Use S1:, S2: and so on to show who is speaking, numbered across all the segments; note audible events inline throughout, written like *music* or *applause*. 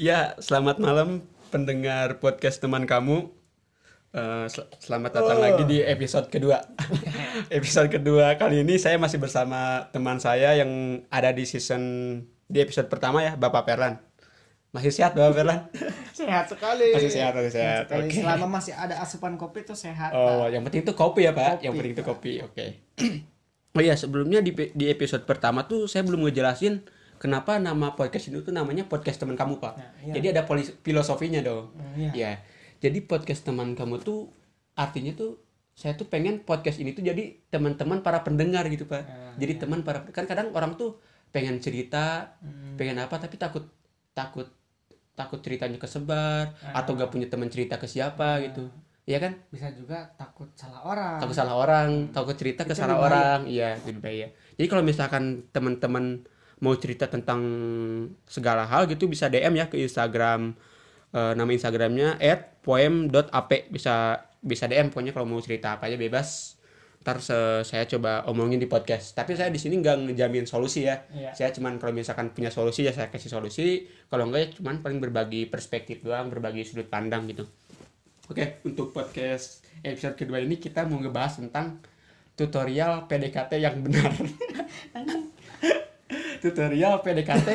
S1: Ya, selamat malam pendengar podcast teman kamu. Eh, sel- selamat datang
S2: Oh.
S1: lagi di episode kedua. *laughs* episode kedua kali ini saya masih bersama teman saya yang ada di season di episode pertama ya, Bapak Perlan. Masih sehat Bapak Perlan?
S2: Sehat sekali.
S1: Masih sehat, masih sehat.
S2: sekali.
S1: Oke.
S2: Selama masih ada asupan kopi itu sehat.
S1: Oh, *laughs* yang penting itu kopi ya, Pak.
S2: Kopi,
S1: yang penting itu kopi. Oke. *clears throat* oh iya, sebelumnya di di episode pertama tuh saya belum ngejelasin kenapa nama podcast ini tuh namanya podcast teman kamu, Pak.
S2: Nah, iya.
S1: Jadi ada polis- filosofinya dong.
S2: Nah, iya.
S1: Ya. Jadi podcast teman kamu tuh artinya tuh saya tuh pengen podcast ini tuh jadi teman-teman para pendengar gitu, Pak.
S2: Nah,
S1: jadi teman para kan kadang orang tuh pengen cerita,
S2: Hmm.
S1: pengen apa tapi takut takut takut ceritanya kesebar atau gak punya teman cerita ke siapa gitu. Iya kan?
S2: Bisa juga takut salah orang.
S1: takut salah orang takut cerita ke
S2: Itu
S1: salah
S2: lebih bahaya.
S1: orang iya itu lebih bahaya jadi kalau misalkan teman-teman mau cerita tentang segala hal gitu bisa DM ya ke Instagram Eh, nama Instagramnya @poem.ap bisa bisa DM pokoknya kalau mau cerita apa aja bebas ntar se- saya coba omongin di podcast tapi saya di sini nggak ngejamin solusi ya
S2: Iya.
S1: saya cuman kalau misalkan punya solusi ya saya kasih solusi kalau enggak ya cuman paling berbagi perspektif doang berbagi sudut pandang gitu Oke, untuk podcast episode kedua ini kita mau ngebahas tentang tutorial PDKT yang benar. tutorial PDKT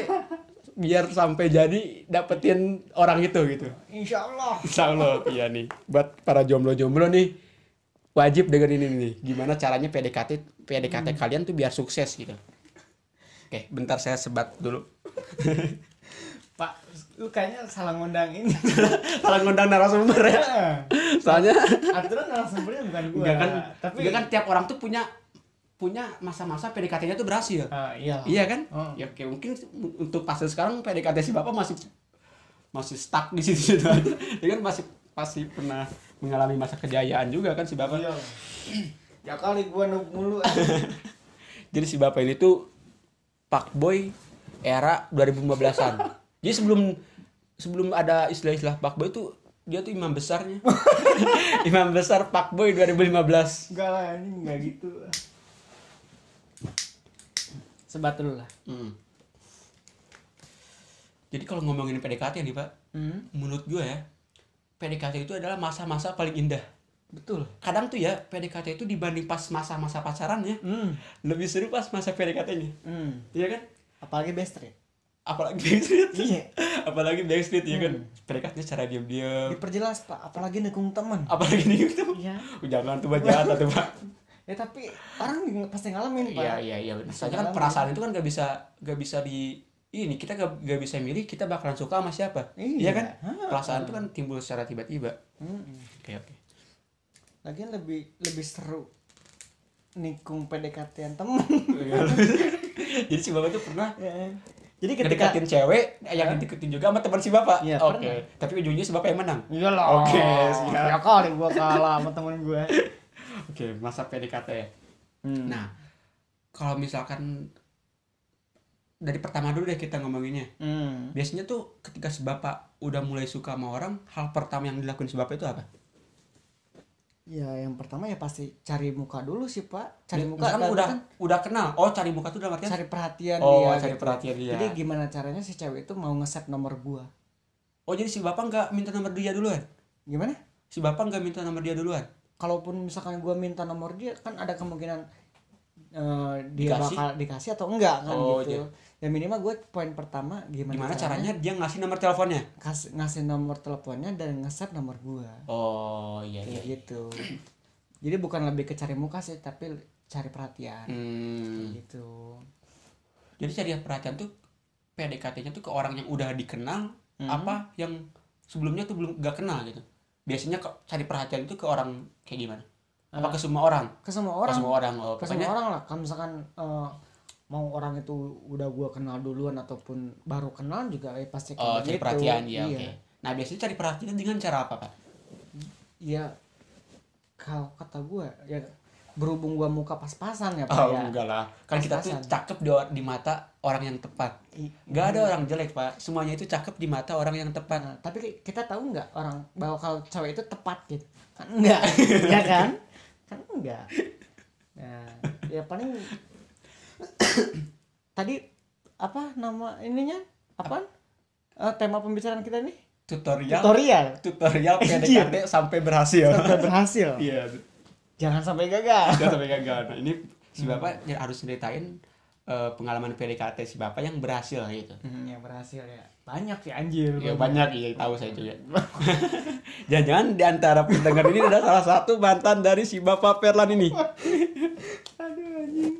S1: biar sampai jadi dapetin orang itu gitu.
S2: Insya Allah.
S1: Insya Allah, iya nih. Buat para jomblo-jomblo nih, wajib dengerin ini nih. Gimana caranya PDKT PDKT kalian tuh biar sukses gitu. Oke, bentar saya sebat dulu.
S2: Pak, lu kayaknya salah ngundang *laughs* ini.
S1: Salah ngundang narasumber ya. Soalnya
S2: Aturan narasumbernya bukan gua.
S1: Enggak kan,
S2: Iya, Tapi
S1: enggak kan tiap orang tuh punya punya masa-masa PDKT-nya tuh berhasil.
S2: Ah, iyalah.
S1: Iya kan?
S2: Oh.
S1: Ya oke, mungkin untuk fase sekarang PDKT si Bapak masih masih stuck di *laughs* situ-situ aja. Dia kan masih pasti pernah mengalami masa kejayaan juga kan si Bapak.
S2: Iya. *clears throat* Ya kali gua nuk mulu. eh.
S1: Jadi si Bapak ini tuh Pak Boy era 2015-an.
S2: *laughs*
S1: Jadi sebelum sebelum ada istilah-istilah Pak Boy tuh dia tuh imam
S2: *laughs*
S1: besarnya. imam besar Pak Boy 2015.
S2: Enggak lah, ini enggak gitu. Sebat dulu lah.
S1: Hmm. Jadi kalau ngomongin PDKT nih Pak,
S2: Hmm,
S1: menurut gue ya, PDKT itu adalah masa-masa paling indah.
S2: betul.
S1: Kadang tuh ya, PDKT itu dibanding pas masa-masa pacarannya,
S2: Hmm.
S1: lebih seru pas masa PDKT-nya.
S2: Hmm.
S1: Iya kan?
S2: Apalagi bestri.
S1: Apalagi backstreet.
S2: Iya. Hmm.
S1: Apalagi backstreet, ya kan? PDKT-nya secara diam-diam.
S2: Diperjelas, Pak, apalagi nekung teman.
S1: Apalagi nih itu.
S2: Iya.
S1: Jangan tuh Pak, jahat tuh Pak.
S2: Ya tapi orang pasti ngalamin, Pak.
S1: Iya iya iya. Soalnya kan
S2: Dalam. gitu.
S1: perasaan itu kan gak bisa gak bisa di ini kita gak, gak bisa milih kita bakalan suka sama siapa.
S2: Iya.
S1: kan?
S2: Ha-ha.
S1: Perasaan itu kan timbul secara tiba-tiba.
S2: Mm-mm.
S1: Oke oke.
S2: Lagian lebih lebih seru nikung PDKT-an temen. Iya.
S1: *laughs* Jadi si bapak tuh pernah
S2: Ya. Jadi ketika
S1: ngedekatin cewek yang dideketin juga sama teman si bapak.
S2: Iya,
S1: oke.
S2: pernah.
S1: Tapi ujungnya si bapak yang menang.
S2: Iya lah.
S1: Oke, siap.
S2: ya kali gua kalah sama temen gua.
S1: Oke masa PDKT. ya.
S2: Hmm.
S1: Nah kalau misalkan dari pertama dulu deh kita ngomonginnya.
S2: Hmm.
S1: Biasanya tuh ketika si bapak udah mulai suka sama orang, hal pertama yang dilakuin si bapak itu apa?
S2: Ya yang pertama ya pasti cari muka dulu sih, Pak. Cari muka
S1: Misalkan
S2: kan
S1: Ya, udah
S2: kan
S1: udah kenal. Oh, cari muka tuh dalam artian
S2: cari perhatian
S1: Oh,
S2: dia.
S1: cari
S2: gitu.
S1: perhatian dia.
S2: Jadi gimana caranya si cewek itu mau nge-save nomor gua?
S1: oh, jadi si Bapak nggak minta nomor dia duluan.
S2: Gimana?
S1: Si Bapak nggak minta nomor dia duluan.
S2: Kalaupun misalkan gua minta nomor dia kan ada kemungkinan eh, dia
S1: Dikasih?
S2: bakal dikasih atau enggak kan
S1: Oh,
S2: gitu. Ya minimal gue poin pertama gimana,
S1: Gimana caranya dia ngasih nomor teleponnya?
S2: kas- ngasih nomor teleponnya dan nge-save nomor gua.
S1: Oh, iya
S2: Kayak gitu. Jadi bukan lebih ke cari muka sih, tapi cari perhatian
S1: Hmm.
S2: gitu.
S1: Jadi cari perhatian tuh PDKT-nya tuh ke orang yang udah dikenal
S2: Hmm.
S1: apa yang sebelumnya tuh belum nggak kenal gitu. Biasanya ke- cari perhatian itu ke orang kayak gimana? Apa ke semua orang?
S2: Ke
S1: Ke
S2: semua Ah. orang,
S1: semua orang. Oh,
S2: ke semua
S1: pokoknya
S2: orang lah. Kalau misalkan eh, mau orang itu udah gua kenal duluan ataupun baru kenal juga eh,
S1: oh,
S2: pasti kayak
S1: cari
S2: gitu.
S1: perhatian ya,
S2: Iya.
S1: oke. Nah, biasanya cari perhatian dengan cara apa, Pak?
S2: Iya. Kalau kata gua ya berhubung gua muka pas-pasan ya, Pak
S1: Oh,
S2: ya.
S1: enggak lah. Kan kita tuh
S2: Pas-pasan.
S1: cakep di, di mata orang yang tepat.
S2: I-
S1: Enggak ada orang jelek, Pak. Semuanya itu cakep di mata orang yang tepat.
S2: Nah, tapi ki- kita tahu nggak orang bahwa kalau cewek itu tepat gitu kan enggak *laughs* ya kan kan enggak nah ya paling *coughs* tadi apa nama ininya apa eh, tema pembicaraan kita ini
S1: Tutorial
S2: tutorial
S1: tutorial *laughs* PDKT sampai berhasil.
S2: sampai berhasil
S1: *laughs* Iya.
S2: jangan sampai gagal
S1: Jangan sampai gagal. Nah, ini si Bapak ya harus ceritain eh, pengalaman PDKT si Bapak yang berhasil gitu.
S2: yang berhasil ya banyak ya anjir
S1: Ya banyak ya tahu saya juga. *laughs* Jangan-jangan di antara pendengar ini ada salah satu mantan dari si Bapak Perlan ini.
S2: aduh anjing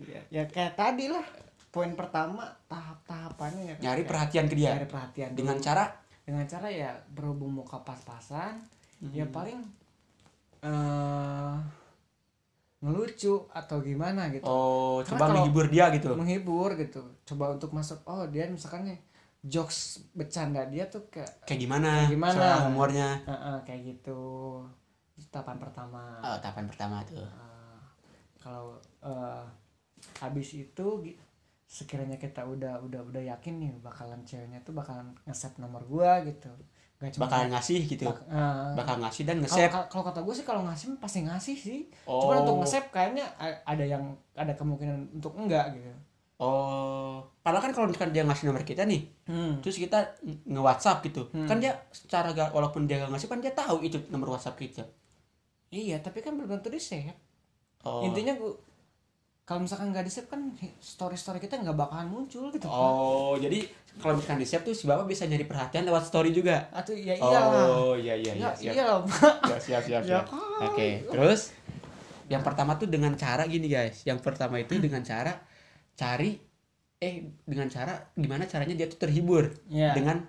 S1: Iya.
S2: ya, ya kayak tadi lah poin pertama tahap tahapannya ya
S1: Nyari
S2: Kayak
S1: perhatian ke dia
S2: nyari perhatian
S1: dengan
S2: dulu.
S1: cara
S2: dengan cara ya berhubung muka pas-pasan ya
S1: Hmm.
S2: paling eh ngelucu atau gimana gitu
S1: oh
S2: Karena
S1: coba
S2: kalau-
S1: menghibur dia gitu.
S2: menghibur gitu coba untuk masuk oh dia misalkan nih jokes bercanda dia tuh kayak
S1: Kayak gimana?
S2: Kayak gimana?
S1: Cara humornya.
S2: eh, eh, kayak gitu Itu tahapan pertama
S1: Oh, tahapan pertama tuh.
S2: Eh, kalau eh, habis itu gi- sekiranya kita udah udah udah yakin nih bakalan ceweknya tuh bakalan nge-save nomor gua gitu nggak cuma
S1: Bakal ngasih gitu.
S2: bak- eh,
S1: Bakal ngasih dan
S2: kalau
S1: nge-save.
S2: kalau- kalau kata gue sih kalau ngasih mah pasti ngasih sih
S1: Oh.
S2: cuman untuk nge-save kayaknya a- ada yang ada kemungkinan untuk enggak gitu
S1: Oh, padahal kan kalau misalkan dia ngasih nomor kita nih,
S2: hmm.
S1: terus kita nge WhatsApp gitu, kan dia secara ga- walaupun dia gak ngasih kan dia tahu itu nomor WhatsApp kita.
S2: iya tapi kan belum tentu di save
S1: Oh.
S2: intinya gue kalau misalkan nggak di save kan story story kita nggak bakalan muncul gitu kan.
S1: Oh, jadi kalau misalkan di save tuh si bapak bisa nyari perhatian lewat story juga.
S2: atau ya iyalah
S1: Oh, iya iya iya.
S2: ya,
S1: Siap.
S2: iyalah
S1: Ya, siap siap.
S2: *laughs*
S1: siap.
S2: Ya
S1: Oke, terus yang pertama tuh dengan cara gini guys. Yang pertama itu dengan cara cari eh dengan cara gimana caranya dia tuh terhibur
S2: Iya.
S1: dengan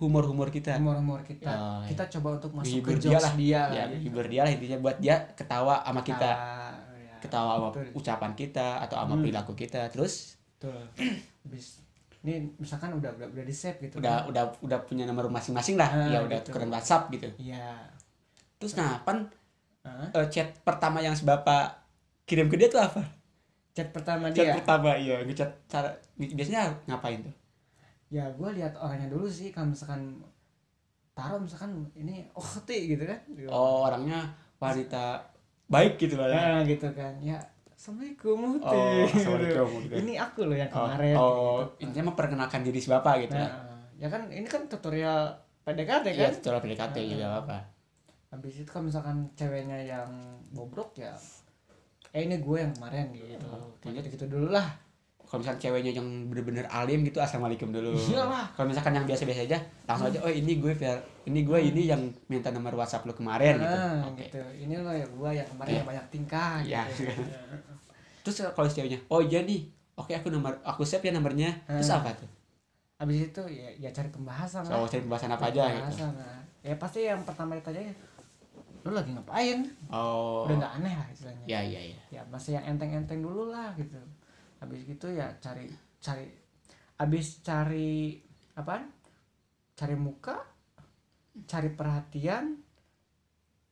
S1: humor-humor kita.
S2: humor-humor kita
S1: Oh, iya.
S2: kita coba untuk masuk
S1: Menghibur
S2: ke
S1: dia
S2: jokes
S1: lah.
S2: dia,
S1: ya
S2: gitu.
S1: hibur dia lah intinya buat dia ketawa sama kita
S2: Ah, iya.
S1: ketawa sama
S2: Betul. Hmm.
S1: ucapan kita atau sama perilaku kita terus
S2: Betul. Habis ini misalkan udah udah, udah di save gitu
S1: udah udah udah punya nomor masing-masing lah
S2: Ah,
S1: ya udah
S2: gitu.
S1: tukeran WhatsApp gitu
S2: iya
S1: terus nah pan
S2: Hah?
S1: eh, chat pertama yang si bapak kirim ke dia tuh apa
S2: chat pertama
S1: chat
S2: dia
S1: pertama iya ngechat cara biasanya ngapain tuh
S2: ya gue lihat orangnya dulu sih kalau misalkan taruh misalkan ini okti gitu kan
S1: oh orangnya wanita baik gitu lah ya
S2: Nah, gitu kan ya assalamualaikum Uti
S1: Oh,
S2: Gitu.
S1: Assalamualaikum, gitu.
S2: *laughs* ini aku loh yang
S1: oh,
S2: kemarin
S1: oh,
S2: gitu.
S1: intinya memperkenalkan diri si bapak gitu
S2: nah,
S1: lah
S2: ya kan ini kan tutorial PDKT
S1: ya
S2: kan
S1: secara PDKT gitu apa
S2: habis itu kalau misalkan ceweknya yang bobrok ya eh ini gue yang kemarin gitu
S1: Oh,
S2: kayak gitu, gitu dulu lah
S1: kalau misalkan ceweknya yang bener-bener alim gitu assalamualaikum dulu
S2: Iyalah.
S1: kalau misalkan yang biasa-biasa aja langsung aja oh ini gue Fer. ini gue ini yang minta nomor whatsapp lu kemarin gitu
S2: nah,
S1: oke
S2: gitu ini loh ya gue yang kemarin yang banyak tingkah
S1: Iya.
S2: gitu
S1: terus kalau si ceweknya oh iya nih oke aku nomor aku save ya nomornya terus
S2: Ah.
S1: apa tuh
S2: habis itu ya, ya cari pembahasan
S1: so
S2: lah
S1: cari pembahasan apa aja gitu
S2: pembahasan lah ya pasti yang pertama ditanya lu lagi ngapain
S1: oh
S2: udah nggak aneh lah istilahnya
S1: ya ya ya
S2: ya masih yang enteng-enteng dulu lah gitu habis gitu ya cari cari habis cari apaan cari muka cari perhatian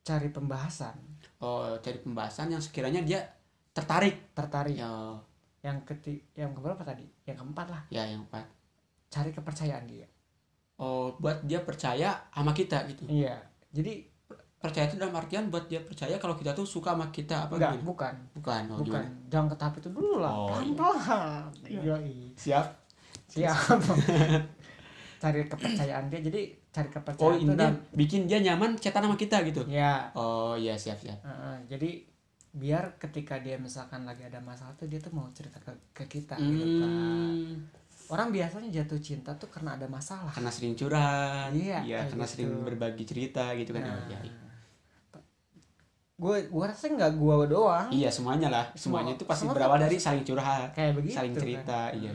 S2: cari pembahasan
S1: oh cari pembahasan yang sekiranya dia tertarik
S2: tertarik
S1: ya
S2: yang keti yang keberapa tadi yang keempat lah
S1: ya yang empat
S2: cari kepercayaan dia
S1: oh buat dia percaya sama kita gitu
S2: iya jadi
S1: percaya itu dalam artian buat dia percaya kalau kita tuh suka sama kita apa
S2: enggak
S1: gimana
S2: bukan
S1: bukan oh,
S2: bukan
S1: gimana?
S2: jangan ke tahap itu dulu lah
S1: Oh, iya.
S2: pelan-pelan Yoi.
S1: siap *laughs*
S2: siap cari kepercayaan dia jadi cari kepercayaan
S1: Oh
S2: itu
S1: ini
S2: dan
S1: bikin dia nyaman cetan sama kita gitu.
S2: ya
S1: Oh iya siap siap.
S2: Heeh, jadi biar ketika dia misalkan lagi ada masalah tuh dia tuh mau cerita ke, ke kita gitu kan.
S1: Hmm,
S2: Orang biasanya jatuh cinta tuh karena ada masalah.
S1: karena sering curhat,
S2: Iya,
S1: iya,
S2: kayak
S1: karena
S2: gitu.
S1: sering berbagi cerita gitu kan.
S2: Nah.
S1: Iya, iya.
S2: Gue gue rasa nggak gua doang
S1: Iya semuanya lah, semuanya
S2: Semua-
S1: itu pasti
S2: semua
S1: berawal dari saling curhat,
S2: kayak begitu.
S1: saling cerita, iya.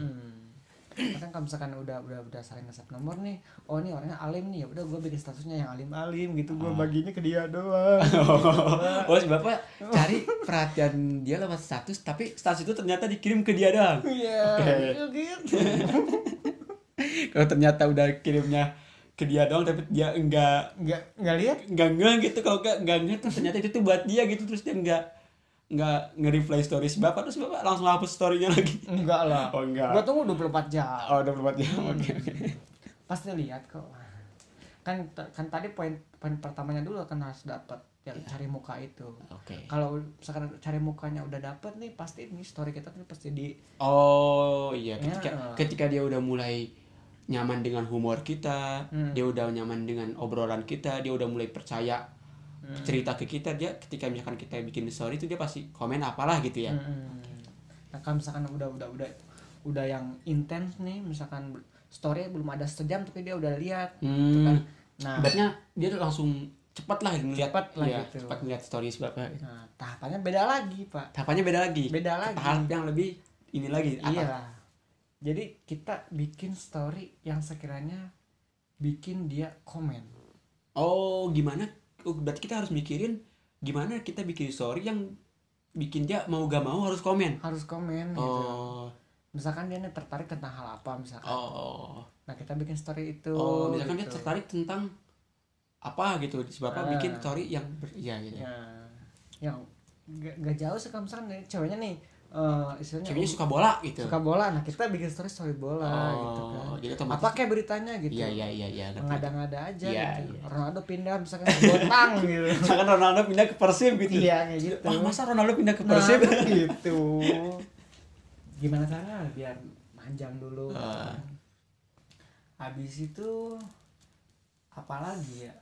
S2: Kan kalau misalkan udah udah udah saling ngasih nomor nih, oh ini orangnya alim nih, ya udah gue bikin statusnya yang alim-alim gitu,
S1: Ah.
S2: gue baginya ke dia doang.
S1: *laughs* Oh si bapak cari perhatian dia lewat status, tapi status itu ternyata dikirim ke dia doang.
S2: Iya, gitu.
S1: Kalau ternyata udah kirimnya ke dia doang, tapi dia enggak
S2: Nggak nggak lihat?
S1: nggak nggak gitu kalau nggak nggak nggak terus ternyata itu tuh buat dia gitu terus dia nggak nggak nge-reply story si bapak terus bapak langsung hapus storynya lagi *laughs*
S2: Enggak lah.
S1: Oh, nggak.
S2: Gue tunggu 24 jam.
S1: oh udah berbuat ya oke oke
S2: pasti lihat kok kan kan tadi poin poin pertamanya dulu kan harus dapat yang cari muka itu
S1: oke
S2: kalau misalkan cari mukanya udah dapet nih pasti ini story kita tuh pasti di
S1: oh iya ketika
S2: Ya.
S1: ketika dia udah mulai nyaman dengan humor kita
S2: Hmm.
S1: dia udah nyaman dengan obrolan kita dia udah mulai percaya cerita ke kita dia ketika misalkan kita bikin story itu dia pasti komen apalah gitu ya
S2: Mm-mm. Hmm, Nah, kalau misalkan udah udah udah udah yang intens nih, misalkan bel- story belum ada sejam tapi dia udah lihat. gitu kan.
S1: hmm,
S2: Nah,
S1: ibaratnya dia tuh langsung cepat lah ngeliat
S2: Cepat lah
S1: Iya,
S2: gitu.
S1: cepat ngeliat story sebabnya
S2: nah, tahapannya beda lagi, Pak.
S1: tahapannya beda lagi
S2: Beda
S1: Ke
S2: lagi.
S1: tahap yang lebih ini lagi
S2: Iya
S1: atas.
S2: lah. Jadi kita bikin story yang sekiranya bikin dia komen.
S1: oh gimana Oh, berarti kita harus mikirin gimana kita bikin story yang bikin dia mau gak mau harus komen
S2: Harus komen gitu.
S1: oh
S2: Misalkan dia nih tertarik tentang hal apa misalkan.
S1: oh
S2: Nah, kita bikin story itu.
S1: Oh, misalkan dia
S2: gitu.
S1: tertarik tentang apa gitu, sebabnya
S2: Ah.
S1: bikin story yang ber, ya gitu.
S2: Ya, yang gak, gak jauh sih kalau misalkan nih, ceweknya nih eh istilahnya
S1: Ceweknya suka bola gitu.
S2: suka bola nah kita bikin story story bola
S1: oh,
S2: gitu kan
S1: jadi
S2: apa
S1: otomatis.
S2: kayak beritanya gitu
S1: Iya, iya, iya, iya. ngerti.
S2: ngada-ngada aja
S1: Iya,
S2: gitu
S1: iya.
S2: Ronaldo pindah misalkan ke Botang
S1: *laughs*
S2: gitu
S1: *laughs* Misalkan Ronaldo pindah ke Persib gitu.
S2: iya kayak gitu
S1: Wah, masa Ronaldo pindah ke
S2: Nah,
S1: Persib?
S2: kan gitu *laughs* gimana cara biar panjang dulu gitu
S1: Ah.
S2: kan. habis itu apalagi ya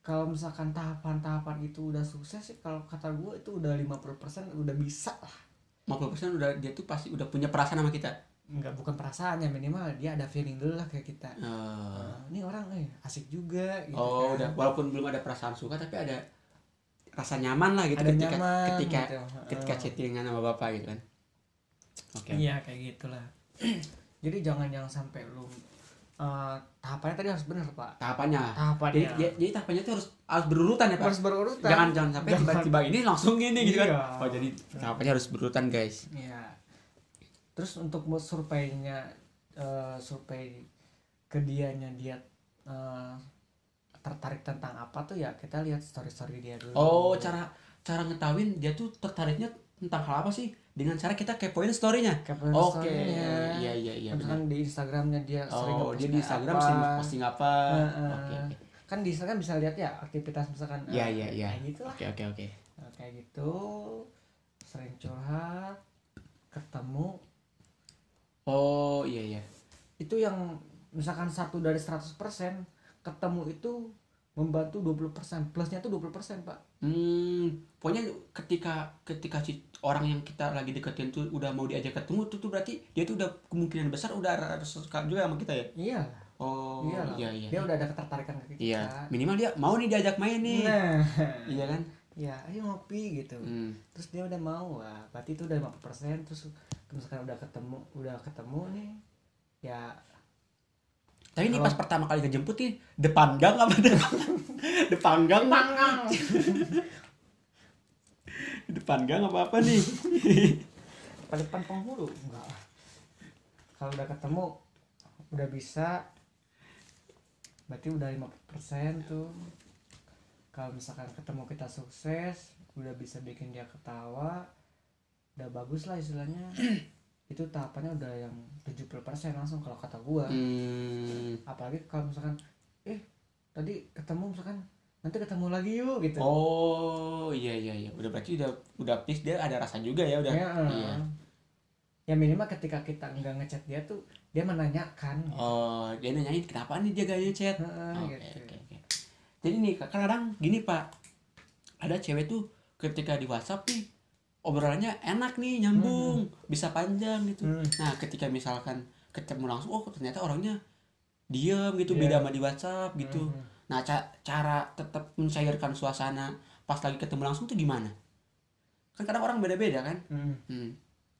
S2: kalau misalkan tahapan-tahapan itu udah sukses sih kalau kata gue itu udah 50% udah bisa lah
S1: 50% udah dia tuh pasti udah punya perasaan sama kita.
S2: nggak bukan perasaannya minimal dia ada feeling dulu lah kayak kita
S1: Eh,
S2: Nah, ini orang eh, asik juga gitu
S1: oh, udah
S2: kan.
S1: walaupun belum ada perasaan suka tapi ada rasa nyaman lah gitu
S2: ada
S1: ketika
S2: nyaman
S1: ketika
S2: gitu.
S1: ketika
S2: Heeh.
S1: chattingan sama bapak gitu kan. Oke.
S2: iya kayak gitulah *clears throat* jadi jangan yang sampai lu eh, tahapannya tadi harus bener pak
S1: Tahapannya. Jadi,
S2: tahapannya
S1: jadi- jadi tahapannya tuh harus harus berurutan ya, Pak.
S2: harus berurutan
S1: jangan jangan sampai
S2: Jangan.
S1: tiba-tiba ini langsung gini gitu
S2: Iya.
S1: kan oh jadi tahapannya harus berurutan guys
S2: Iya. terus untuk buat surveinya eh, survei ke dianya dia eh, tertarik tentang apa tuh ya kita lihat story story dia dulu
S1: oh cara cara ngetahuin dia tuh tertariknya tentang hal apa sih dengan cara kita kepoin storynya
S2: Caption
S1: oke
S2: story-nya.
S1: iya iya iya benar
S2: misalkan di Instagramnya dia sering
S1: oh dia
S2: ngeposting
S1: di Instagram
S2: apa.
S1: sering posting apa
S2: Heeh.
S1: oke oke
S2: kan di Instagram bisa lihat ya aktivitas misalkan
S1: Iya,
S2: eh,
S1: iya, iya.
S2: kayak gitu lah
S1: oke oke oke
S2: Nah, kayak gitu sering curhat ketemu
S1: oh iya iya
S2: itu yang misalkan satu dari 100% ketemu itu membantu 20% plusnya tuh 20% pak
S1: hmm pokoknya ketika ketika si orang yang kita lagi deketin tuh udah mau diajak ketemu tuh tuh berarti dia tuh udah kemungkinan besar udah harus suka juga sama kita ya
S2: iya
S1: oh
S2: iya lah.
S1: iya iya
S2: dia udah ada ketertarikan ke kita
S1: Iya, minimal dia mau nih diajak main nih.
S2: *laughs* nah
S1: Iya kan?
S2: ya ayo ngopi gitu
S1: Hmm.
S2: terus dia udah mau wah berarti itu udah 50% terus misalkan udah ketemu udah ketemu nih ya
S1: Tapi ini
S2: Kalau-
S1: pas pertama kali ngejemput nih, depan gang apa *laughs* depan? depan gang, ah.
S2: panggang
S1: depan gang apa apa
S2: *laughs*
S1: nih?
S2: paling depan penghulu enggak lah. kalau udah ketemu udah bisa berarti udah 50% tuh kalau misalkan ketemu kita sukses udah bisa bikin dia ketawa udah bagus lah
S1: *clears throat*
S2: istilahnya itu tahapannya udah yang 70% langsung kalau kata gua
S1: Hmm.
S2: apalagi kalau misalkan eh tadi ketemu misalkan nanti ketemu lagi yuk gitu
S1: Oh, iya iya iya. Udah berarti udah udah fix dia ada rasa juga ya udah.
S2: ya,
S1: Iya.
S2: ya minimal ketika kita nggak ngechat dia tuh dia menanyakan gitu.
S1: Oh, dia nanyain kenapa nih dia gayanya chat.
S2: Heeh,
S1: Oke,
S2: gitu.
S1: oke, oke. Jadi nih Kak, kadang gini Pak, ada cewek tuh ketika di WhatsApp nih obrolannya enak nih nyambung, bisa panjang gitu.
S2: Hmm.
S1: Nah ketika misalkan ketemu langsung, oh ternyata orangnya diam gitu,
S2: Iya.
S1: beda sama di WhatsApp gitu.
S2: Mhm.
S1: Nah ca- cara tetap mencairkan suasana pas lagi ketemu langsung tuh gimana? Kan kadang orang beda-beda kan.
S2: Hmm.
S1: Hmm.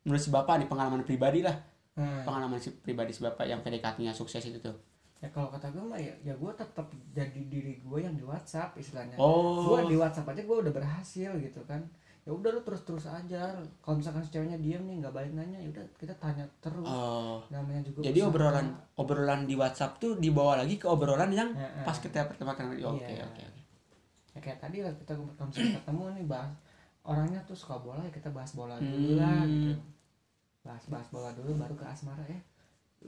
S1: Menurut si bapak nih pengalaman pribadi lah,
S2: Nah,
S1: pengalaman si pribadi si bapak yang PDKT-nya sukses itu tuh.
S2: ya kalau kata gue mah ya, ya gue tetap jadi diri gue yang di WhatsApp istilahnya.
S1: Oh.
S2: Gue di WhatsApp aja gue udah berhasil gitu kan. Ya udah lu terus-terus aja. Kalau misalkan si ceweknya diam nih nggak balik nanya, ya udah kita tanya terus.
S1: Oh.
S2: Namanya juga.
S1: Jadi
S2: usaha.
S1: obrolan obrolan di WhatsApp tuh dibawa lagi ke obrolan yang
S2: Heeh.
S1: pas kita pertama kali. Oke,
S2: Nah. Iya.
S1: oke. oke.
S2: Ya, kayak tadi lah kita kalau misalkan ketemu nih bahas orangnya tuh suka bola ya kita bahas bola dulu lah
S1: Hmm.
S2: gitu. Bahas-bahas bola dulu baru ke asmara ya.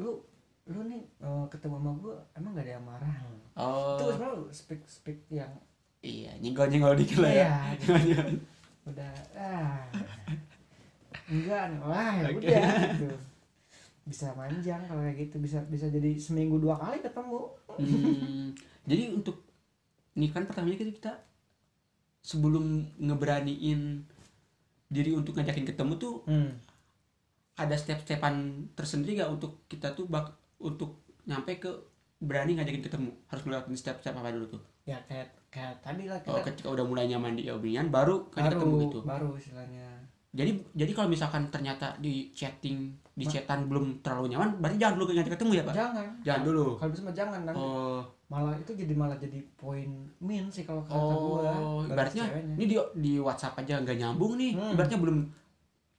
S2: Lu lu nih eh, ketemu sama gue emang gak ada yang marah.
S1: Oh.
S2: Itu sebenarnya speak speak yang
S1: Iya, nyenggol-nyenggol dikit *laughs* lah ya.
S2: Iya, *laughs* gitu. udah ah enggak nih, wah ya
S1: Oke.
S2: udah gitu bisa manjang kalau kayak gitu bisa bisa jadi seminggu dua kali ketemu
S1: *laughs* Hmm, jadi untuk ini kan pertamanya kita, kita sebelum ngeberaniin diri untuk ngajakin ketemu tuh
S2: hmm.
S1: ada step-stepan tersendiri gak untuk kita tuh bak untuk nyampe ke berani ngajakin ketemu harus ngelewatin step-step apa dulu tuh
S2: ya kayak kayak tadi lah
S1: kalau
S2: kita
S1: ketika udah mulai nyaman di obrolan baru kan Oh,
S2: baru
S1: ketemu gitu
S2: baru istilahnya
S1: jadi jadi kalau misalkan ternyata di chatting di chatan belum terlalu nyaman berarti jangan dulu ngajak ketemu ya pak
S2: jangan
S1: jangan dulu
S2: kalau bisa mah jangan nanti
S1: oh
S2: malah itu jadi malah jadi poin min sih kalau kata gua
S1: oh
S2: bagi
S1: ibaratnya
S2: ceweknya.
S1: ini di di WhatsApp aja nggak nyambung nih
S2: Hmm.
S1: ibaratnya belum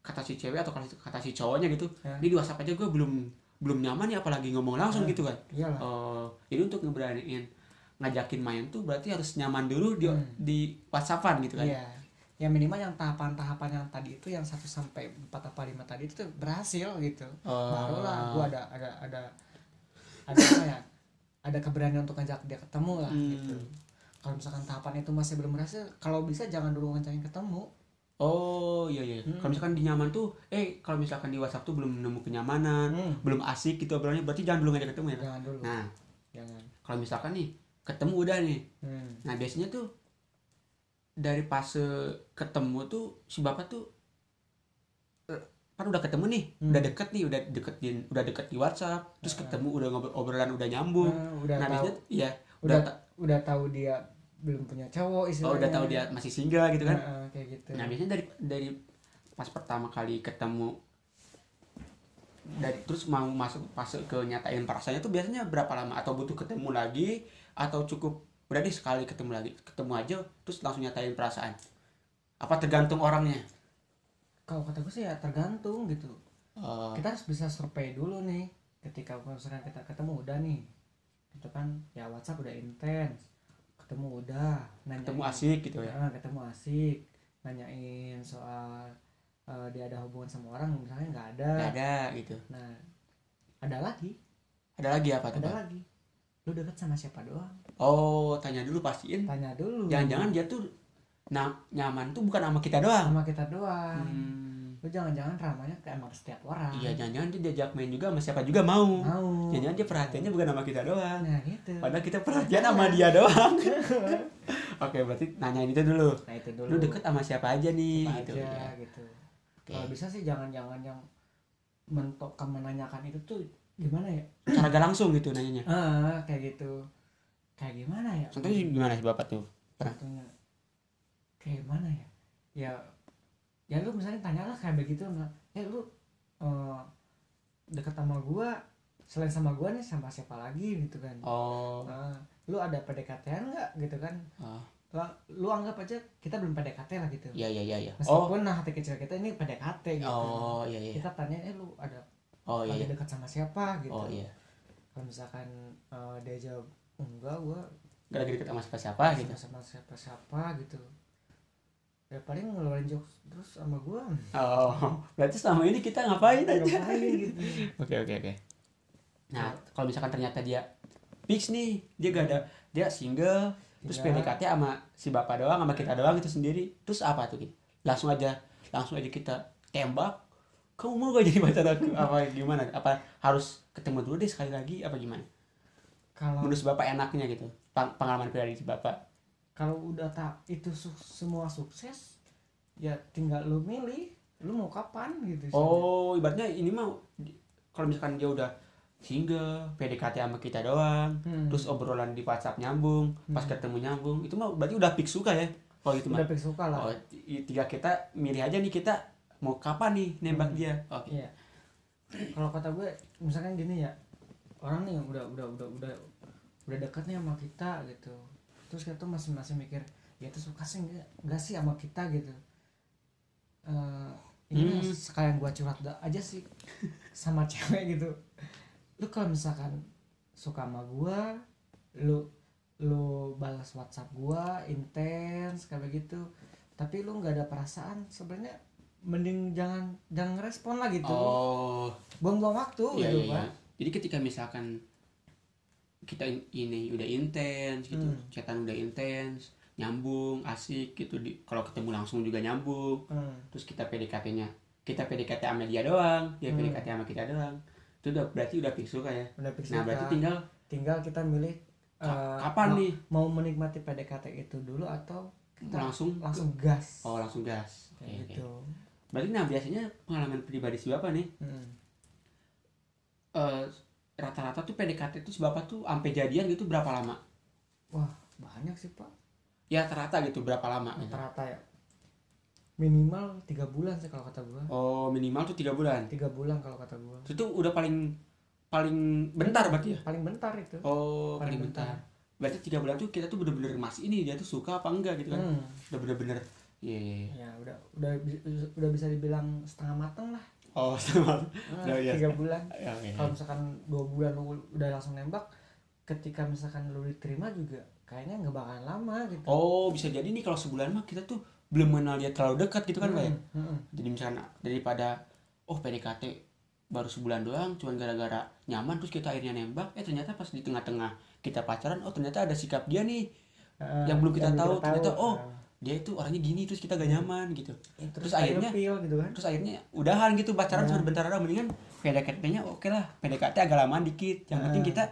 S1: kata si cewek atau kata, kata si cowoknya gitu
S2: Ya.
S1: ini di WhatsApp aja gue belum belum nyaman nih apalagi ngomong langsung
S2: Ya.
S1: gitu kan
S2: iyalah
S1: Oh, jadi untuk ngeberaniin ngajakin main tuh berarti harus nyaman dulu di
S2: Hmm.
S1: di WhatsAppan gitu kan.
S2: Iya. Ya minimal yang tahapan-tahapan yang tadi itu yang 1 sampai 4 apa 5 tadi itu tuh berhasil gitu.
S1: Oh.
S2: Barulah gua ada ada ada ada apa ya? Ada keberanian untuk ngajak dia ketemu lah
S1: Hmm.
S2: gitu. Kalau misalkan tahapan itu masih belum berhasil, kalau bisa jangan dulu ngajakin ketemu.
S1: Oh, iya iya.
S2: Hmm.
S1: Kalau misalkan di nyaman tuh eh kalau misalkan di WhatsApp tuh belum nemu kenyamanan, belum asik gitu obrolannya berarti jangan dulu ngajak ketemu ya. Kak?
S2: Jangan dulu.
S1: Nah,
S2: Jangan.
S1: kalau misalkan nih ketemu udah nih.
S2: Hmm.
S1: Nah, biasanya tuh dari fase ketemu tuh si bapak tuh eh, kan udah ketemu nih,
S2: Hmm.
S1: udah deket nih, udah deket di, udah deket di WhatsApp, terus
S2: Ya.
S1: ketemu udah ngobrol obrolan udah nyambung.
S2: Nah, udah
S1: nah,
S2: tahu
S1: biasanya iya,
S2: udah
S1: udah
S2: udah tahu dia belum punya cowok istilahnya.
S1: Oh udah tahu dia masih single gitu kan?
S2: iya, Nah, kayak gitu.
S1: Nah biasanya dari dari pas pertama kali ketemu dari terus mau masuk fase ke nyatain perasaannya tuh biasanya berapa lama? Atau butuh ketemu lagi? Atau cukup udah deh sekali ketemu lagi ketemu aja terus langsung nyatain perasaan? Apa tergantung orangnya?
S2: kalau kata gue sih ya tergantung gitu.
S1: Eh,
S2: kita harus bisa survei dulu nih ketika misalkan kita ketemu udah nih itu kan ya WhatsApp udah intens ketemu udah nanya
S1: ketemu asik gitu ya?
S2: Ah, ketemu asik nanyain soal eh, dia ada hubungan sama orang misalnya nggak ada
S1: Gak ada gitu.
S2: nah ada lagi
S1: Ada lagi apa tuh?
S2: ada
S1: Bang?
S2: lagi lu deket sama siapa doang
S1: Oh tanya dulu pastiin.
S2: tanya dulu
S1: Jangan-jangan dia tuh nah, nyaman tuh bukan sama kita doang?
S2: sama kita doang
S1: Hmm,
S2: lu jangan-jangan ramanya ke emang setiap orang
S1: Iya jangan-jangan dia diajak main juga sama siapa juga mau.
S2: mau
S1: Jangan-jangan dia perhatiannya bukan sama kita doang.
S2: nah gitu
S1: Padahal kita perhatian sama dia doang. *laughs* Oke, berarti nanyain itu dulu. *laughs*
S2: nah itu dulu
S1: Lu deket sama siapa aja nih
S2: Apa
S1: gitu.
S2: aja,
S1: Ya.
S2: gitu.
S1: Oke.
S2: Kalau bisa sih jangan-jangan yang mentok ke menanyakan itu tuh gimana ya?
S1: Cara gak langsung gitu nanyanya.
S2: Ah, kayak gitu. Kayak gimana ya?
S1: Contohnya gimana sih Bapak tuh? pernah?
S2: Contohnya, kayak gimana ya? Ya ya lu misalnya tanyalah kayak begitu nah, ya lu eh, deket sama gua selain sama gua nih sama siapa lagi gitu kan.
S1: Oh,
S2: Nah, lu ada PDKT-an nggak gitu kan?
S1: Ah.
S2: Lah, Lu anggap aja kita belum PDKT lah gitu.
S1: iya iya iya iya. Oh,
S2: Meskipun nah hati kecil kita ini PDKT gitu.
S1: oh iya iya.
S2: kita tanya eh lu ada
S1: Oh
S2: lagi
S1: iya.
S2: dekat sama siapa gitu
S1: Oh iya.
S2: kalau misalkan eh, dia jawab enggak gua
S1: Gak lagi deket sama siapa siapa
S2: suka
S1: gitu.
S2: sama siapa siapa gitu ya paling ngeluarin jokes terus sama gua
S1: Oh, *laughs* berarti selama ini kita ngapain aja?
S2: ngapain gitu
S1: *laughs* Oke oke oke. Nah, kalau misalkan ternyata dia fix nih, dia gak ada, dia single, terus
S2: Iya.
S1: PDKT sama si bapak doang sama kita doang itu sendiri terus apa tuh Ki? langsung aja langsung aja kita tembak kamu mau gak jadi pacar aku apa gimana apa harus ketemu dulu deh sekali lagi apa gimana
S2: kalau
S1: menurut si bapak enaknya gitu Peng- pengalaman pribadi si bapak
S2: kalau udah tak itu su- semua sukses ya tinggal lu milih lu mau kapan gitu
S1: oh ibaratnya ini mah di- kalau misalkan dia udah single PDKT sama kita doang
S2: Hmm.
S1: terus obrolan di WhatsApp nyambung pas ketemu nyambung itu mah berarti udah fix suka ya kalau gitu
S2: udah
S1: mah
S2: pasti suka lah
S1: oh, i- tiga kita milih aja nih kita mau kapan nih nembak
S2: Hmm.
S1: dia oke
S2: Iya. Kalau kata gue, misalkan gini ya, orang nih yang udah udah udah udah udah dekat nih sama kita gitu. Terus kita tuh masih masih mikir, ya itu suka sih enggak, enggak sih sama kita gitu. Eh ini
S1: Hmm.
S2: sekalian gua curhat da- aja sih sama *laughs* cewek gitu. Lu kalau misalkan suka sama gua, lu lu balas WhatsApp gua intens kayak begitu. Tapi lu nggak ada perasaan sebenarnya mending jangan jangan respon lah gitu
S1: Oh,
S2: buang-buang waktu
S1: iya,
S2: gitu
S1: iya, iya.
S2: Pak.
S1: Jadi ketika misalkan kita in- ini udah intens gitu,
S2: Hmm.
S1: chatan udah intens, nyambung, asik gitu. Di, kalau ketemu langsung juga nyambung.
S2: Hmm.
S1: Terus kita PDKT-nya, kita PDKT sama dia doang, dia
S2: Hmm.
S1: PDKT sama kita doang. itu udah berarti udah fix suka ya
S2: udah fix
S1: nah
S2: suka.
S1: berarti tinggal
S2: tinggal kita milih
S1: ka-
S2: eh,
S1: kapan
S2: mau,
S1: nih
S2: mau menikmati PDKT itu dulu atau kita
S1: langsung
S2: langsung gas
S1: oh langsung gas
S2: kayak
S1: Oke, oke.
S2: gitu
S1: berarti nah biasanya pengalaman pribadi si bapak nih
S2: Mm.
S1: eh, rata-rata tuh PDKT itu si bapak tuh sampai jadian gitu berapa lama
S2: banyak sih pak
S1: ya rata-rata gitu berapa lama gitu.
S2: rata-rata ya minimal tiga bulan sih kalau kata gua
S1: oh minimal tuh tiga bulan
S2: tiga bulan kalau kata gua
S1: itu tuh udah paling paling bentar berarti ya
S2: paling bentar itu
S1: oh
S2: Paling
S1: paling, bentar. berarti tiga bulan tuh kita tuh bener-bener masih ini dia tuh suka apa enggak gitu kan
S2: Hmm.
S1: udah bener-bener iya iya iya
S2: ya udah udah bi- udah bisa dibilang setengah mateng lah
S1: oh sama
S2: Eh,
S1: Udah, iya.
S2: tiga bulan
S1: ya, oke.
S2: kalau misalkan dua bulan lu udah langsung nembak ketika misalkan lu diterima juga kayaknya nggak bakalan lama gitu
S1: oh bisa jadi nih kalau sebulan mah kita tuh belum mengenal dia terlalu dekat gitu kan Pak, ya
S2: Hmm, hmm.
S1: jadi misalnya daripada oh PDKT baru sebulan doang cuman gara-gara nyaman terus kita akhirnya nembak eh ternyata pas di tengah-tengah kita pacaran oh ternyata ada sikap dia nih
S2: Eh,
S1: Yang belum kita tahu, ternyata, oh,
S2: eh,
S1: dia itu orangnya gini terus kita gak nyaman gitu
S2: ya, terus,
S1: terus akhirnya-
S2: feel gitu kan
S1: terus akhirnya udahan gitu pacaran
S2: Udahan.
S1: cuma bentar doang mendingan PDKT-nya oke lah PDKT agak lamaan dikit yang penting
S2: Ah.
S1: kita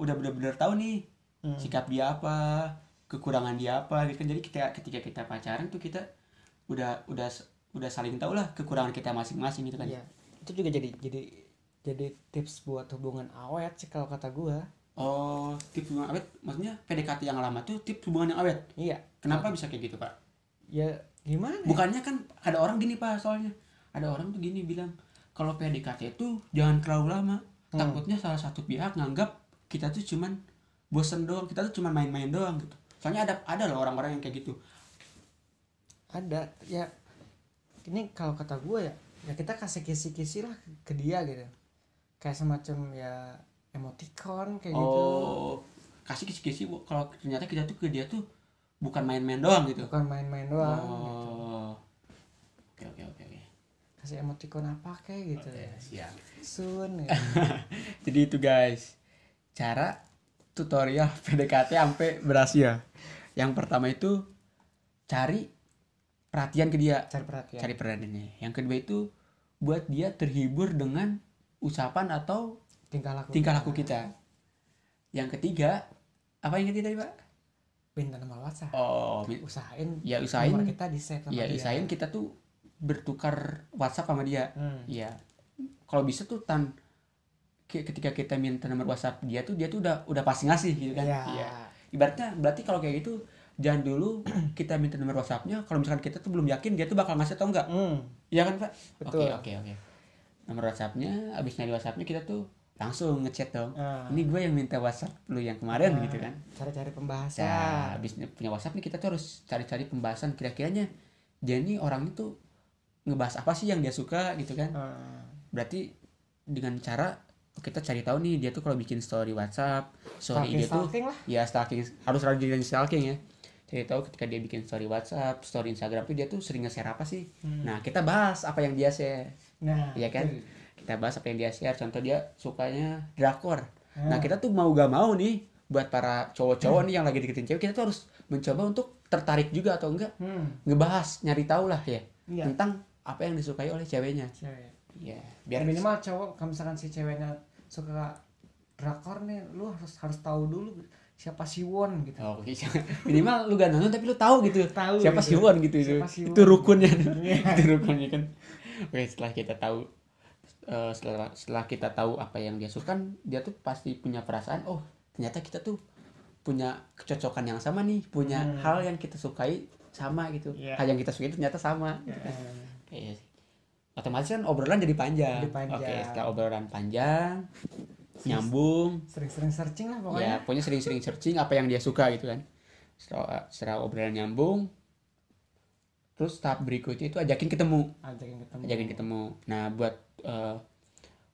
S1: udah bener-bener tahu nih
S2: Hmm.
S1: sikap dia apa kekurangan dia apa gitu kan jadi kita ketika kita pacaran tuh kita udah udah udah saling tahu lah kekurangan kita masing-masing gitu kan
S2: Iya. itu juga jadi jadi jadi tips buat hubungan awet sih kalau kata gua
S1: oh tips hubungan awet maksudnya PDKT yang lama tuh tips hubungan yang awet
S2: iya
S1: kenapa bisa kayak gitu pak
S2: ya gimana ya?
S1: bukannya kan ada orang gini pak soalnya ada orang tuh gini bilang kalau PDKT itu jangan terlalu lama
S2: Hmm.
S1: takutnya salah satu pihak nganggap kita tuh cuman bosen doang kita tuh cuman main-main doang gitu soalnya ada ada loh orang-orang yang kayak gitu
S2: ada ya ini kalau kata gua ya ya kita kasih kisi-kisi lah ke- ke dia gitu kayak semacam ya emoticon kayak gitu
S1: oh kasih kisi-kisi Bu. kalau ternyata kita tuh ke dia tuh bukan main-main doang gitu
S2: bukan main-main doang gitu.
S1: oh oke oke oke oke
S2: kasih emoticon apa kayak gitu
S1: Oke, Eh, siap
S2: sun gitu.
S1: Jadi itu guys, cara tutorial *laughs* PDKT sampai berhasil. Yang pertama itu cari perhatian ke dia,
S2: cari perhatian
S1: cari perhatiannya. Yang kedua itu buat dia terhibur dengan ucapan atau
S2: tingkah laku
S1: tingkah laku kita. Yang ketiga, apa yang ketiga tadi, Pak?
S2: pinta nomor WhatsApp
S1: Oh, mi-
S2: usahain
S1: ya
S2: nomor
S1: usahain,
S2: kita di save sama
S1: ya
S2: dia.
S1: usahain kita tuh bertukar WhatsApp sama dia.
S2: Hmm.
S1: Iya. Kalau bisa tuh tan ke- ketika kita minta nomor WhatsApp dia tuh dia tuh udah udah pasti ngasih gitu kan.
S2: Iya.
S1: Ibaratnya berarti kalau kayak gitu jangan dulu *clears throat* kita minta nomor WhatsAppnya kalau misalkan kita tuh belum yakin dia tuh bakal ngasih atau enggak.
S2: Hmm,
S1: Iya kan, Pak? Oke,
S2: betul
S1: oke, oke. Nomor WhatsAppnya abis nyari WhatsAppnya kita tuh langsung ngechat dong.
S2: Ah.
S1: Ini gue yang minta WhatsApp lu yang kemarin
S2: Nah,
S1: gitu kan.
S2: cari-cari pembahasan
S1: Nah, habis punya WhatsApp nih kita tuh harus cari-cari pembahasan kira-kiranya dia nih orang itu ngebahas apa sih yang dia suka gitu kan
S2: Hmm.
S1: berarti dengan cara kita cari tahu nih dia tuh kalau bikin story WhatsApp, story
S2: stalking
S1: dia tuh
S2: stalking lah
S1: ya stalking harus rajin jadi stalking ya. Cari tahu ketika dia bikin story WhatsApp, story Instagram tuh dia tuh sering nge-share apa sih?
S2: Hmm.
S1: Nah, kita bahas apa yang dia share.
S2: nah
S1: Iya kan?
S2: itu.
S1: Kita bahas apa yang dia share. Contoh dia sukanya drakor.
S2: Hmm.
S1: Nah, kita tuh mau gak mau nih buat para cowok-cowok nih yang lagi deketin cewek, kita tuh harus mencoba untuk tertarik juga atau enggak
S2: hmm.
S1: ngebahas, nyari tahu lah ya
S2: Iya.
S1: tentang apa yang disukai oleh ceweknya.
S2: cewek
S1: Iya, biar
S2: biar Ya, minimal cowok kalau misalkan si ceweknya suka drakor nih lu harus harus tahu dulu siapa si Won gitu
S1: Oh, oke. minimal lu gak nonton tapi lu tahu gitu
S2: Tahu
S1: siapa si
S2: gitu.
S1: Won gitu itu
S2: Siapa si
S1: itu
S2: Won.
S1: rukunnya
S2: *laughs* Iya.
S1: *laughs* itu rukunnya kan oke setelah kita tahu eh, setelah setelah kita tahu apa yang dia suka kan dia tuh pasti punya perasaan oh ternyata kita tuh punya kecocokan yang sama nih punya
S2: Hmm.
S1: hal yang kita sukai sama gitu
S2: Iya.
S1: hal yang kita sukai ternyata sama gitu kan.
S2: Eh,
S1: Iya sih. otomatis kan obrolan jadi panjang,
S2: Jadi panjang.
S1: oke setelah obrolan panjang nyambung
S2: sering-sering searching lah
S1: ya
S2: pokoknya
S1: pokoknya sering-sering searching apa yang dia suka gitu kan setelah, setelah obrolan nyambung terus tahap berikutnya itu ajakin ketemu
S2: Ah, ajakin ketemu
S1: ajakin ketemu nah buat eh,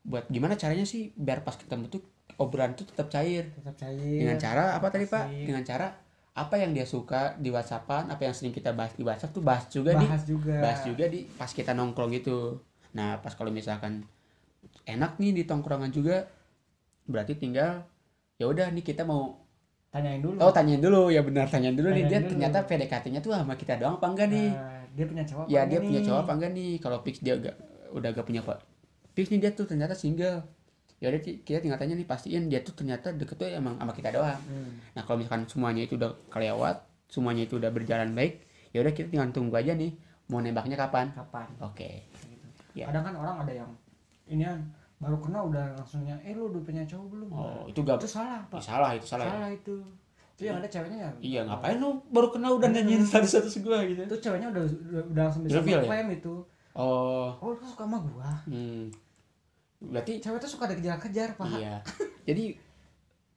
S1: buat gimana caranya sih biar pas ketemu tuh obrolan tuh tetap cair
S2: tetap cair
S1: dengan cara apa tadi pak
S2: Iya, Asik.
S1: dengan cara apa yang dia suka di WhatsAppan apa yang sering kita bahas di WhatsApp tuh bahas juga di
S2: bahas juga
S1: bahas juga di pas kita nongkrong gitu nah pas kalau misalkan enak nih di tongkrongan juga berarti tinggal ya udah nih kita mau
S2: tanyain dulu
S1: Oh tanyain dulu ya benar tanyain dulu nih
S2: Tanyain
S1: dia
S2: dulu.
S1: ternyata PDKT-nya tuh sama kita doang apa enggak nih?
S2: Nah, dia punya
S1: ya
S2: cowok apa
S1: dia
S2: enggak
S1: punya
S2: nih?
S1: cowok apa enggak nih? Kalau fix dia agak, udah gak punya pak, fix nih dia tuh ternyata single. ya udah Ci, kita tinggal tanya nih pastiin dia tuh ternyata deket tuh emang sama kita doang
S2: Hmm,
S1: nah kalau misalkan semuanya itu udah kelewat semuanya itu udah berjalan baik ya udah kita tinggal tunggu aja nih mau nembaknya kapan
S2: kapan
S1: oke
S2: gitu.
S1: Ya.
S2: kadang kan orang ada yang ini kan baru kenal udah langsungnya eh lu udah punya cowok belum
S1: oh itu gak
S2: itu salah pak
S1: salah itu salah, ya?
S2: salah itu itu yang ada ceweknya ya
S1: iya ngapain lu baru kenal udah nanyain status status gua gitu
S2: itu ceweknya udah udah, udah langsung bisa
S1: Reveal, ya?
S2: ngeklaim itu
S1: oh
S2: oh lu suka sama gua
S1: hmm. berarti
S2: cewek tuh suka ada kejar-kejar pak
S1: Iya. Jadi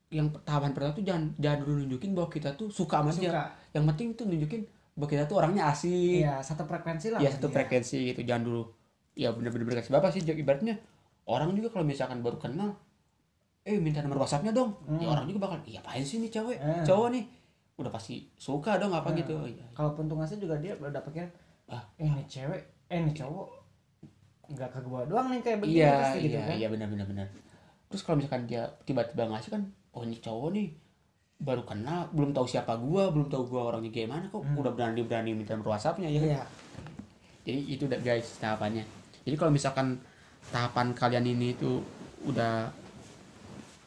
S1: yang tahapan pertama tuh jangan jangan dulu nunjukin bahwa kita tuh suka sama dia.
S2: suka
S1: Yang penting tuh nunjukin bahwa kita tuh orangnya asik.
S2: iya satu frekuensi lah
S1: ya
S2: sama
S1: satu
S2: dia.
S1: frekuensi gitu. Jangan dulu ya bener-bener kasih bapak sih ibaratnya orang juga kalau misalkan baru kenal eh minta nomor WhatsAppnya dong. Ya
S2: Hmm.
S1: orang juga bakal iya apain sih nih cewek?
S2: Eh.
S1: Cowok nih udah pasti suka dong apa
S2: Hmm.
S1: gitu. Oh, iya.
S2: kalaupun tuh ngasih juga dia udah pikiran
S1: Ah.
S2: eh ini cewek eh ini cowok nggak ke gua doang nih kayak begini
S1: Iya,
S2: pasti gitu
S1: iya,
S2: kan
S1: iya benar benar benar. Terus kalau misalkan dia tiba-tiba ngasih kan, oh ini cowok nih baru kenal, belum tahu siapa gua, belum tahu gua orangnya gimana kok
S2: Hmm.
S1: udah berani-berani minta nomor WhatsApp-nya ya. kan?
S2: iya
S1: Jadi itu udah guys tahapannya. Jadi kalau misalkan tahapan kalian ini itu udah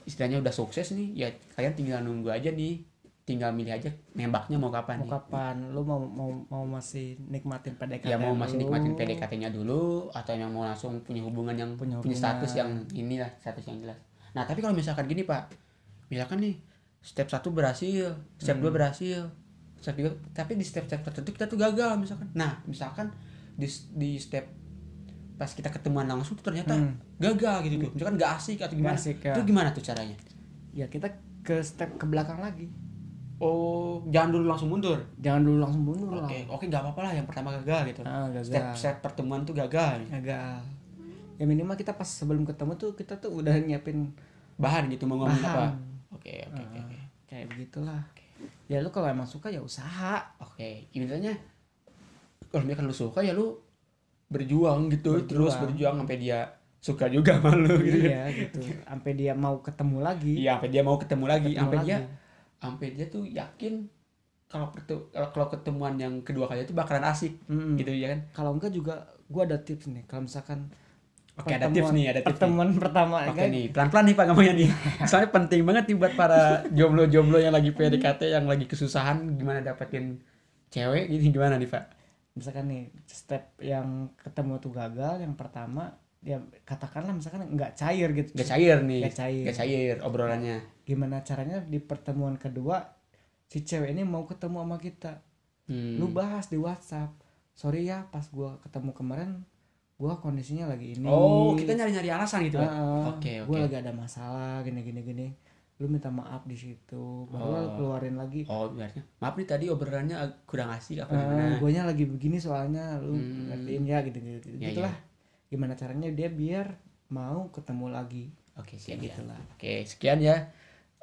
S1: istilahnya udah sukses nih, ya kalian tinggal nunggu aja nih, tinggal milih aja nembaknya mau kapan
S2: mau
S1: nih.
S2: kapan lu mau mau mau masih nikmatin PDKT
S1: Ya mau masih
S2: lu?
S1: nikmatin PDKT-nya dulu atau yang mau langsung punya hubungan yang
S2: Punya
S1: punya,
S2: hubungan.
S1: status yang inilah status yang jelas. Nah tapi kalau misalkan gini pak, misalkan nih step satu berhasil, step
S2: Hmm.
S1: dua berhasil, step tiga tapi di step step tertentu kita tuh gagal misalkan. Nah misalkan di di step pas kita ketemuan langsung tuh ternyata
S2: Hmm.
S1: gagal gitu tuh, misalkan gak asik atau gimana?
S2: Nggak asik, ya.
S1: Itu gimana tuh caranya?
S2: ya kita ke step ke belakang lagi
S1: Oh jangan dulu langsung mundur.
S2: jangan dulu langsung bunuh lah
S1: Oke oke gak apa-apa lah yang pertama gagal gitu.
S2: Ah, gagal.
S1: Step step pertemuan tuh gagal.
S2: agak ya minimal kita pas sebelum ketemu tuh kita tuh udah nyiapin
S1: bahan gitu mau ngomong
S2: Bahan.
S1: apa
S2: Ah.
S1: oke oke oke oke.
S2: kayak begitulah ya lu kalau emang suka
S1: *laughs*
S2: ya usaha
S1: oke intinya kalau misalkan lu suka ya lu berjuang gitu
S2: Berjuang.
S1: terus berjuang sampai dia suka juga sama lu gitu
S2: iya gitu sampai dia mau ketemu lagi
S1: iya sampai dia mau ketemu lagi
S2: Ketemu
S1: sampai
S2: lagi.
S1: dia sampai dia tuh yakin kalau pertu- kalau- kalau ketemuan yang kedua kali itu bakalan asik
S2: Mm-mm.
S1: gitu ya kan
S2: kalau enggak juga gua ada tips nih kalau misalkan
S1: oke ada
S2: pertemuan-
S1: tips nih ada tips nih.
S2: pertemuan pertama
S1: Oke
S2: kan
S1: nih, pelan-pelan nih Pak ngomongnya
S2: *laughs*
S1: nih. Soalnya penting banget nih buat para jomblo-jomblo yang lagi PDKT, yang lagi kesusahan gimana dapetin cewek gitu gimana nih Pak?
S2: misalkan nih step yang ketemu tuh gagal yang pertama ya katakanlah misalkan nggak cair gitu
S1: Gak cair nih.
S2: Nggak cair.
S1: Nggak cair obrolannya.
S2: gimana caranya di pertemuan kedua si cewek ini mau ketemu sama kita
S1: Hmm.
S2: lu bahas di WhatsApp sorry ya pas gua ketemu kemarin gua kondisinya lagi ini
S1: Oh, kita nyari-nyari alasan gitu. Pak? Oke,
S2: oke
S1: oke.
S2: gua lagi ada masalah gini gini gini lu minta maaf di situ baru lu
S1: Oh.
S2: keluarin lagi
S1: Oh, biasanya. Maaf nih tadi obrolannya ag- kurang asik apa
S2: Eh,
S1: gimana.
S2: guanya lagi begini soalnya lu
S1: Hmm.
S2: ngertiin ya gitu gitu,
S1: Ya,
S2: gitulah gimana caranya dia biar mau ketemu lagi
S1: Oke, siap
S2: kayak
S1: ya.
S2: gitulah
S1: Oke, sekian ya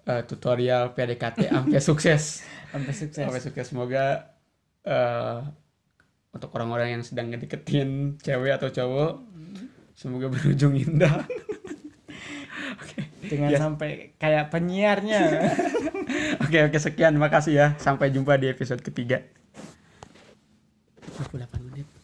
S1: eh, tutorial PDKT sampai sukses.
S2: sampai sukses
S1: Sampai sukses semoga eh, untuk orang-orang yang sedang ngedeketin cewek atau cowok semoga berujung indah. *laughs*
S2: jangan
S1: Ya.
S2: sampai kayak penyiarnya
S1: *laughs* Oke, oke sekian. Makasih ya. Sampai jumpa di episode ketiga. 58 menit.